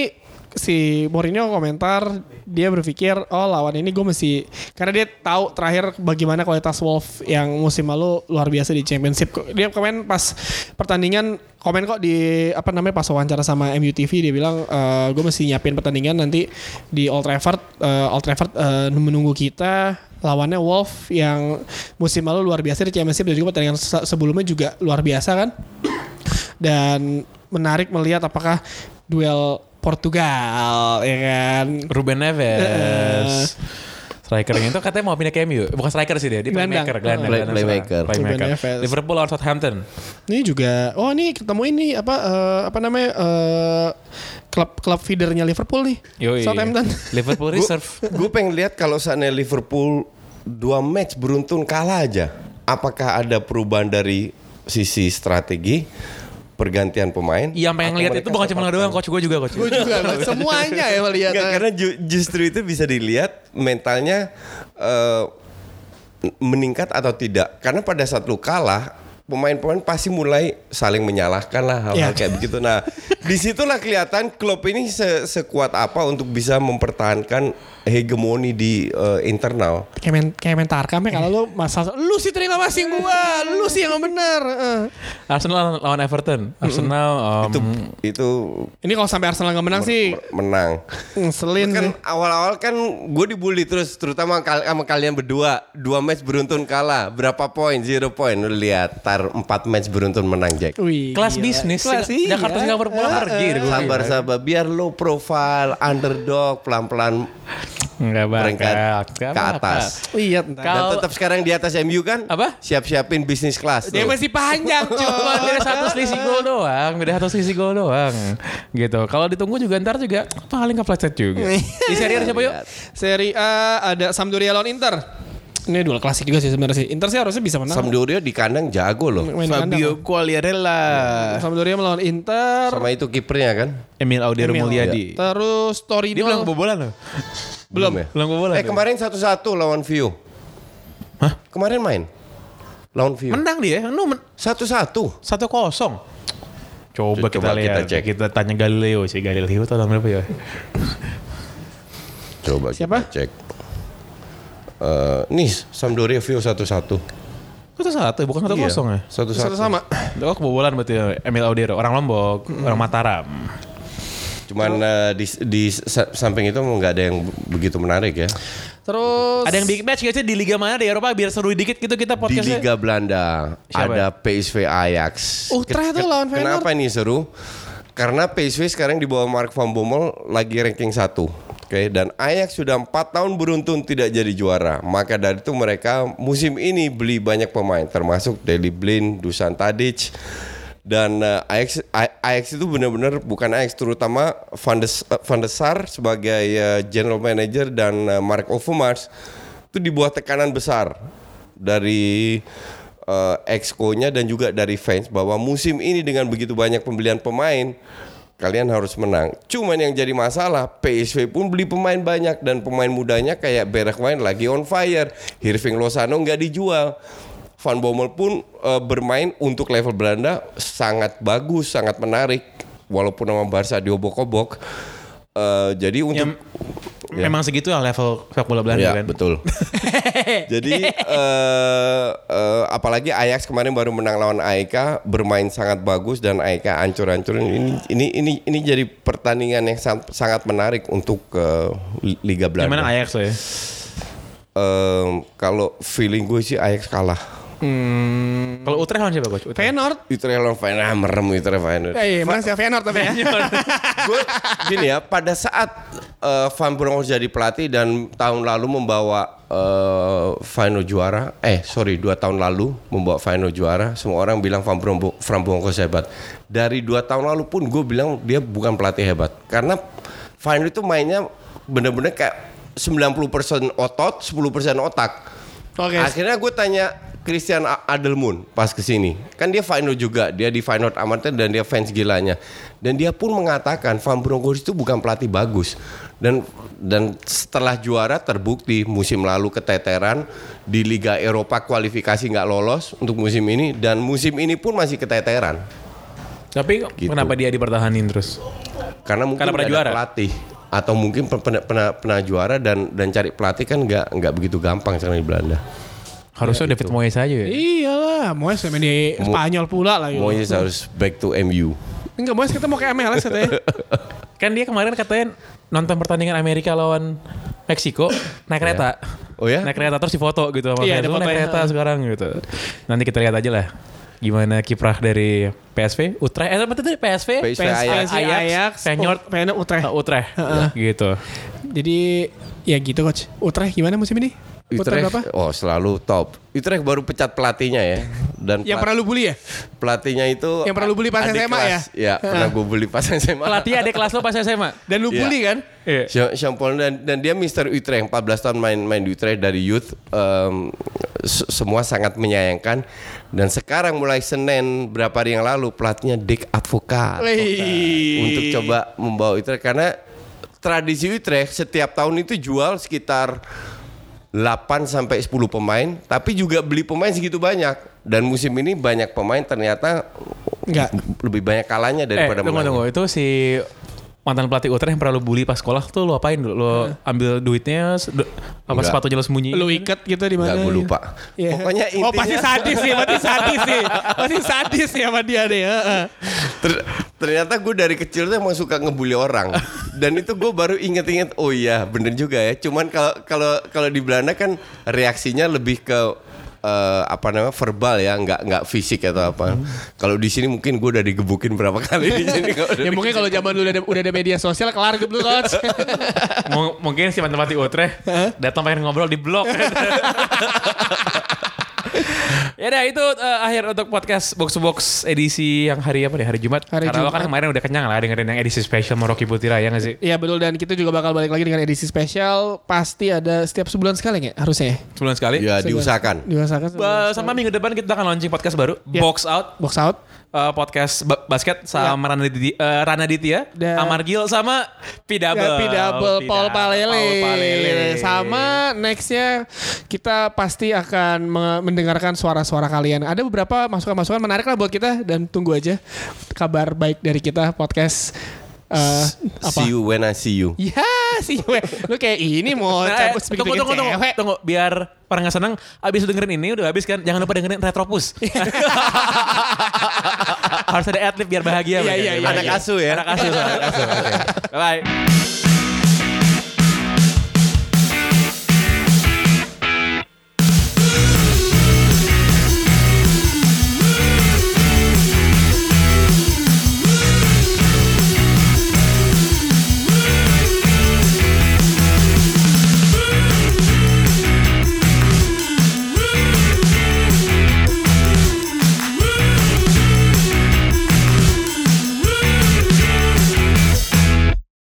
Speaker 3: si Mourinho komentar dia berpikir oh lawan ini gue mesti karena dia tahu terakhir bagaimana kualitas Wolf yang musim lalu luar biasa di Championship. Dia komen pas pertandingan komen kok di apa namanya pas wawancara sama MUTV dia bilang "Eh, gue mesti nyiapin pertandingan nanti di Old Trafford eh, Old Trafford eh, menunggu kita lawannya Wolf yang musim lalu luar biasa di Championship dan juga pertandingan se- sebelumnya juga luar biasa kan dan menarik melihat apakah duel Portugal ya kan
Speaker 2: Ruben Neves. Strikernya itu katanya mau pindah ke MU. Bukan striker sih dia, dia
Speaker 3: Gelandang.
Speaker 2: playmaker, gelandang,
Speaker 1: Play-
Speaker 2: gelandang
Speaker 1: playmaker.
Speaker 2: serang. Playmaker.
Speaker 3: Ruben Neves.
Speaker 2: Liverpool lawan Southampton.
Speaker 3: ini juga oh ini ketemu ini apa eh, apa namanya eh, klub klub feedernya Liverpool nih
Speaker 2: Yoi.
Speaker 3: Southampton
Speaker 2: Liverpool Reserve.
Speaker 1: Gue pengen lihat kalau seandainya Liverpool dua match beruntun kalah aja, apakah ada perubahan dari sisi strategi pergantian pemain?
Speaker 2: Yang pengen
Speaker 1: Atau
Speaker 2: lihat
Speaker 1: mereka
Speaker 2: Iya, itu bukan cuma lo
Speaker 1: sepakat?
Speaker 2: doang, coach gue juga coach.
Speaker 3: gue juga gua semuanya ya melihat
Speaker 1: Nggak, karena ju- justru itu bisa dilihat mentalnya eh, meningkat atau tidak. Karena pada saat lu kalah, pemain-pemain pasti mulai saling menyalahkan lah hal-hal
Speaker 3: Ya.
Speaker 1: kayak begitu. Nah, disitulah kelihatan klub ini se- sekuat apa untuk bisa mempertahankan hegemoni di eh, internal.
Speaker 3: kayak men kayak mentarkam ya kalau lu masa lu sih terima masing gua lu sih yang benar Eh.
Speaker 2: Arsenal lawan Everton.
Speaker 4: Hmm.
Speaker 2: Arsenal um,
Speaker 1: itu itu
Speaker 3: Ini kalau sampai Arsenal nggak menang sih
Speaker 1: menang.
Speaker 3: ngeselin
Speaker 1: kan
Speaker 3: sih.
Speaker 1: awal-awal kan gue dibully terus terutama kal- sama kalian berdua dua match beruntun kalah berapa poin zero poin lu lihat tar empat match beruntun menang Jack Eh,
Speaker 3: Wih,
Speaker 2: kelas
Speaker 3: gila.
Speaker 2: bisnis. ya.
Speaker 3: Kelas, iya.
Speaker 2: Jakarta Singapura pulang pergi. deh gua.
Speaker 1: sabar sabar biar low profile underdog pelan-pelan
Speaker 2: Nggak
Speaker 1: peringkat
Speaker 2: bakal. Nggak
Speaker 1: ke
Speaker 2: bakal.
Speaker 1: atas
Speaker 3: Iya, bentar.
Speaker 1: dan
Speaker 2: Kalau-
Speaker 1: tetap sekarang di atas MU kan
Speaker 2: Apa?
Speaker 1: siap-siapin bisnis kelas
Speaker 3: Dia
Speaker 1: Tuh.
Speaker 3: masih panjang
Speaker 2: Cuma
Speaker 3: coy.
Speaker 2: beda satu selisih gol doang, beda satu selisih gol doang. Gitu. Kalau ditunggu juga ntar juga paling kepleset juga. Di seri A siapa yuk?
Speaker 3: Seri A ada Sampdoria lawan Inter. Ini duel klasik juga sih sebenarnya sih. Inter sih harusnya bisa menang.
Speaker 1: Sampdoria di kandang jago loh
Speaker 3: Main kandang.
Speaker 4: Fabio Quagliarella,
Speaker 3: Sampdoria melawan Inter.
Speaker 1: sama itu kipernya kan
Speaker 4: Emil Audero
Speaker 3: Emil.
Speaker 4: Mulyadi.
Speaker 2: iya.
Speaker 3: Terus Torino.
Speaker 4: Dia bilang kebobolan loh.
Speaker 1: belum, ya
Speaker 4: Belum kebobolan.
Speaker 1: eh kemarin satu-satu lawan View
Speaker 4: Hah?
Speaker 1: kemarin main lawan View
Speaker 4: menang dia. No, men-
Speaker 1: satu-satu
Speaker 4: satu kosong.
Speaker 1: Coba
Speaker 2: Coba, kita lihat.
Speaker 1: kita
Speaker 2: Kita,
Speaker 1: cek.
Speaker 2: tanya Galileo sih. Galileo tuh dalam berapa ya?
Speaker 1: Coba
Speaker 3: Siapa?
Speaker 1: kita cek. Eh, nih Sampdoria View satu-satu. Iya.
Speaker 2: Kok itu satu? Bukan satu kosong ya?
Speaker 1: Satu-satu.
Speaker 3: satu sama.
Speaker 2: Oh kebobolan berarti ya, Emil Audero. Orang Lombok, orang Mataram.
Speaker 1: Cuman eh, di, di sa- samping itu nggak ada yang begitu menarik ya.
Speaker 3: Terus
Speaker 2: Ada yang big match gak sih di liga mana di Eropa biar seru dikit gitu kita
Speaker 1: Di
Speaker 2: podcastnya?
Speaker 1: Liga Belanda
Speaker 2: Siapa
Speaker 1: ada PSV Ajax.
Speaker 3: Utrecht tuh ya? Oh, lawan Feyenoord.
Speaker 1: Kenapa ini seru? Karena PSV sekarang di bawah Mark van Bommel lagi ranking 1. Oke, dan Ajax sudah empat tahun beruntun tidak jadi juara. Maka dari itu mereka musim ini beli banyak pemain termasuk Deli Blind, Dusan Tadic dan eh, Ajax A- Ajax itu benar-benar bukan Ajax terutama Van de, eh, Van de Sar sebagai eh, general manager dan eh, Mark Overmars itu di bawah tekanan besar dari eh, exco-nya dan juga dari fans bahwa musim ini dengan begitu banyak pembelian pemain kalian harus menang. Cuman yang jadi masalah PSV pun beli pemain banyak dan pemain mudanya kayak Berak Wine lagi on fire. Hirving Lozano nggak dijual. Van Bommel pun eh, bermain untuk level Belanda sangat bagus, sangat menarik walaupun nama Barca diobok-obok. Eh, jadi untuk
Speaker 2: Memang segitu lah level sepak bola Belanda
Speaker 1: ya,
Speaker 2: kan?
Speaker 1: betul. Jadi eh, eh, apalagi Ajax kemarin baru menang lawan AEK bermain sangat bagus dan AEK ancur-ancurin ini ini ini ini jadi pertandingan yang sam- sangat menarik untuk eh, li- Liga Belanda.
Speaker 2: Gimana Ajax lo ya?
Speaker 1: Eh, kalau feeling gue sih Ajax kalah.
Speaker 2: Kalau Utrecht lawan siapa coach? Utrecht.
Speaker 3: Feyenoord.
Speaker 1: Utrecht lawan Feyenoord ah, merem Utrecht Feyenoord.
Speaker 3: Eh, mana sih Feyenoord tapi ya.
Speaker 1: gue gini ya pada saat eh, Van Bronckhorst jadi pelatih dan tahun lalu membawa eh, final juara eh sorry dua tahun lalu membawa final juara semua orang bilang Van, Bronco, Van Bronckhorst hebat dari dua tahun lalu pun gue bilang dia bukan pelatih hebat karena final itu mainnya bener-bener kayak 90% otot 10% otak
Speaker 3: Oke.
Speaker 1: Akhirnya gue tanya Christian A- Adelmoon pas kesini, kan dia final juga, dia di final amatir dan dia fans gilanya, dan dia pun mengatakan Van Bronckhorst itu bukan pelatih bagus, dan dan setelah juara terbukti musim lalu keteteran di Liga Eropa kualifikasi nggak lolos untuk musim ini dan musim ini pun masih keteteran
Speaker 2: Tapi
Speaker 1: Gitu.
Speaker 2: kenapa dia dipertahanin terus?
Speaker 1: karena mungkin
Speaker 2: Karena pernah
Speaker 1: nggak ada
Speaker 2: juara?
Speaker 1: pelatih atau mungkin pe- pernah, pernah, pernah juara dan dan cari pelatih kan nggak nggak begitu gampang sekarang di Belanda.
Speaker 2: Harusnya David Moyes aja ya.
Speaker 3: Iyalah, Moyes main di Spanyol pula lah. yuk.
Speaker 1: Moyes harus back to MU.
Speaker 3: Enggak, Moyes kita mau ke MLS katanya.
Speaker 2: Kan dia kemarin katanya nonton pertandingan Amerika lawan Meksiko naik kereta.
Speaker 1: Oh ya?
Speaker 2: Naik kereta terus difoto gitu sama
Speaker 3: Iya,
Speaker 2: fans.
Speaker 3: ada
Speaker 2: Lu naik
Speaker 3: fotonya.
Speaker 2: kereta sekarang gitu. Nanti kita lihat aja lah gimana kiprah dari PSV, Utrecht, eh betul tadi PSV,
Speaker 1: PSV Ajax.
Speaker 2: Feyenoord,
Speaker 3: Oh, Feyenoord, Utrecht.
Speaker 2: eh, Utrecht gitu.
Speaker 3: Jadi ya gitu coach. Utrecht gimana musim ini? Utrecht berapa?
Speaker 1: Utrecht oh selalu top. Utrecht baru pecat pelatihnya ya dan
Speaker 3: Yang
Speaker 1: pelat-
Speaker 3: pernah lu bully ya?
Speaker 1: pelatihnya itu
Speaker 3: yang pernah lu beli pas
Speaker 1: adik
Speaker 3: SMA
Speaker 1: kelas. ya? pernah gue beli pas SMA.
Speaker 2: Pelatih ada kelas lo pas SMA.
Speaker 3: Dan lu
Speaker 1: Iya.
Speaker 3: bully kan?
Speaker 2: Iya.
Speaker 1: Sean- Sean Paul dan, dan dia Mister Utrecht 14 tahun main main di Utrecht dari youth em, se- semua sangat menyayangkan dan sekarang mulai Senin berapa hari yang lalu pelatihnya Dick Advocat
Speaker 3: Wih.
Speaker 1: untuk coba membawa Utrecht karena tradisi Utrecht setiap tahun itu jual sekitar 8 sampai 10 pemain, tapi juga beli pemain segitu banyak. Dan musim ini banyak pemain ternyata
Speaker 3: Enggak.
Speaker 1: lebih banyak kalahnya
Speaker 2: Eh,
Speaker 1: daripada
Speaker 2: tunggu
Speaker 1: menangnya.
Speaker 2: tunggu itu si mantan pelatih Utrecht yang pernah lu bully pas sekolah tuh lu apain dulu? Lu ambil duitnya se- du- apa
Speaker 1: Enggak.
Speaker 2: sepatunya lu sembunyi?
Speaker 3: Lu ikat gitu di
Speaker 1: Enggak,
Speaker 3: mana?
Speaker 1: gue
Speaker 3: gitu.
Speaker 1: lupa.
Speaker 3: Iya.
Speaker 1: Pokoknya
Speaker 3: Oh pasti
Speaker 1: intinya-
Speaker 3: sadis sih, pasti sadis sih. Pasti sadis ya sama dia deh. heeh.
Speaker 1: Ter- ternyata gue dari kecil tuh emang suka ngebully orang dan itu gue baru inget-inget oh iya bener juga ya cuman kalau kalau kalau di Belanda kan reaksinya lebih ke eh, apa namanya verbal ya nggak nggak fisik atau
Speaker 3: Hmm.
Speaker 1: apa kalau di sini mungkin gue udah digebukin berapa kali di sini kalau
Speaker 3: ya
Speaker 1: dari
Speaker 3: mungkin kalau zaman dulu udah ada, udah ada media sosial kelar gitu lu coach.
Speaker 2: Mung- mungkin si mantan pelatih Utrecht datang pengen ngobrol di blog. ya udah itu eh, akhir untuk podcast box to box edisi yang hari apa nih hari Jumat.
Speaker 3: Hari
Speaker 2: Karena lo
Speaker 3: Jumat.
Speaker 2: kan kemarin udah kenyang lah dengerin yang edisi spesial Maroki Putira ya nggak sih?
Speaker 3: Iya betul dan kita juga bakal balik lagi dengan edisi spesial pasti ada setiap sebulan sekali ya harusnya. ya?
Speaker 2: Sebulan sekali.
Speaker 1: ya diusahakan
Speaker 3: Diwasakan
Speaker 2: Ba- sama minggu depan kita akan launching podcast baru
Speaker 3: Ya.
Speaker 2: Box Out
Speaker 3: box out.
Speaker 2: eh, podcast ba- basket sama
Speaker 3: Iya.
Speaker 2: Rana, Didi- eh, Rana Ditya,
Speaker 3: Dan-
Speaker 2: Amargil sama Pidabel.
Speaker 3: Iya. Ya, Double, double Paul Palele.
Speaker 2: Paul Palele.
Speaker 3: Sama nextnya kita pasti akan me- mendengarkan suara-suara kalian. Ada beberapa masukan-masukan menarik lah buat kita dan tunggu aja kabar baik dari kita podcast eh, apa?
Speaker 1: see you when I see you
Speaker 3: Ya, si cewek. Lu kayak ini mau
Speaker 2: Nah, eh, tunggu, tunggu,
Speaker 3: cabut sebegituin
Speaker 2: tunggu, tunggu,
Speaker 3: cewek.
Speaker 2: tunggu, biar orang nggak seneng abis dengerin ini udah habis kan jangan lupa dengerin retropus harus ada adlib biar bahagia
Speaker 3: Iya,
Speaker 2: mereka, biar
Speaker 3: iya, iya,
Speaker 2: bahagia.
Speaker 1: iya. Anak asuh ya.
Speaker 2: anak asuh anak asuh oke. bye